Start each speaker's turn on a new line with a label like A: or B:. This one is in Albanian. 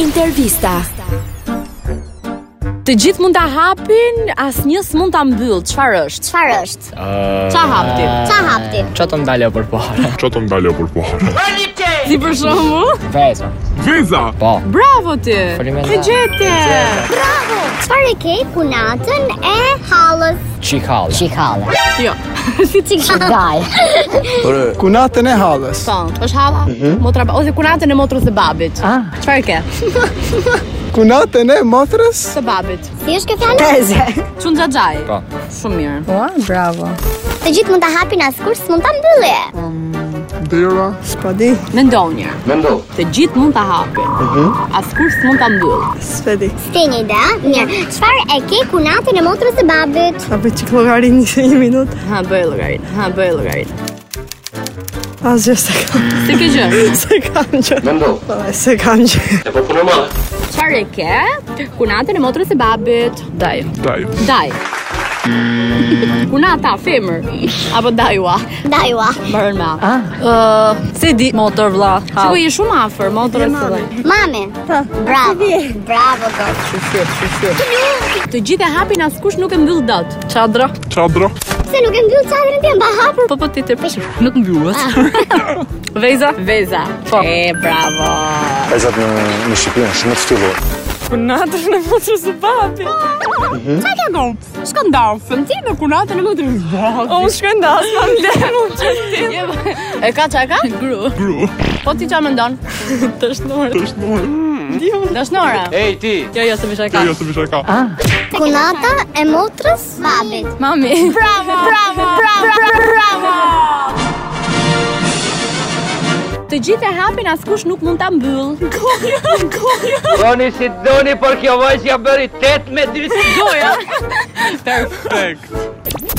A: Intervista.
B: Të gjithë mund ta hapin, asnjë s'mund ta mbyll. Çfarë është?
C: Çfarë është?
B: Ça hap ti?
C: Ça hap ti?
D: Që të ndalë për para
E: Čo to ndalja për pohara?
B: Si për shembull?
D: Veza
E: Veza!
D: Po
B: Bravo ti.
D: Faleminderit.
B: E gjete.
C: Bravo! Çfarë e ke punatën e hallës?
D: Qikale
C: Çikallë.
B: Jo.
C: Çikallë.
F: Kunatën e hallës.
B: Po, është halla?
D: Mhm.
B: Motra ose kunatën e motrës së babit.
D: Ah.
B: Çfarë ke?
F: Kunatën e motrës.
B: Së babit.
C: Si është kjo fjalë?
B: Çun xhaxhaj.
D: Po.
B: Shumë mirë.
C: Të gjithë mund ta hapin askur s'mund ta mbylli.
E: Dera?
F: S'po di.
B: Mendoj një. Mendoj. Të gjithë mund ta hapin.
D: Mhm.
B: Askur s'mund ta mbyll.
F: S'po di.
C: S'ke një ide? a? Mirë. Çfarë e ke kunatën e motrës së babit?
F: Sa bëj çik llogarin një minutë.
B: Ha bëj llogarit. Ha bëj llogarit.
F: Asgjë se kam.
B: Ti ke gjë.
F: Se kam gjë.
G: Mendo,
F: Po, se kam gjë.
G: e po punë madhe.
B: Çfarë e ke? Kunatën e motrës së babit. Daj.
E: Daj.
B: Daj. Kunata femër apo dajua?
C: Dajua.
B: Mbarën me a.
H: Ah. Se di motor vlla.
B: Sigur je shumë afër motrës së babit.
C: Mami.
B: Po,
C: Bravo. Bravo gocë.
B: Të gjithë e hapin askush nuk e mbyll dot.
H: Çadra.
E: Çadro?
C: Se nuk e mbyll çadrën ti mba hapur.
H: Po po ti të pish. Nuk mbyllet. Veza.
B: Ah. Veza.
H: Po.
B: E bravo.
I: Vajzat në, në Shqipëri janë shumë të ftyllur.
H: Punatën e motrës së babit.
B: Çfarë ke bën? S'ka ndafën ti me kunatën e motrës së babit.
H: O shkoj ndas, mam lemu çestin.
B: E ka çka ka? Gru.
E: Gru?
B: Po ti çfarë mendon?
E: Të është nore?
B: Dashnora.
G: Ej ti,
H: Jo, jo, se më shaka.
E: Jo, se bisha ka.
C: Kunata e motrës së babit.
G: jo.
H: Mami.
B: Bravo, bravo, bravo, bravo, bravo. Të gjithë e hapin askush nuk mund ta mbyll.
G: doni si doni, por kjo vajzja bëri 18 me dritë.
B: Goja.
E: Tek.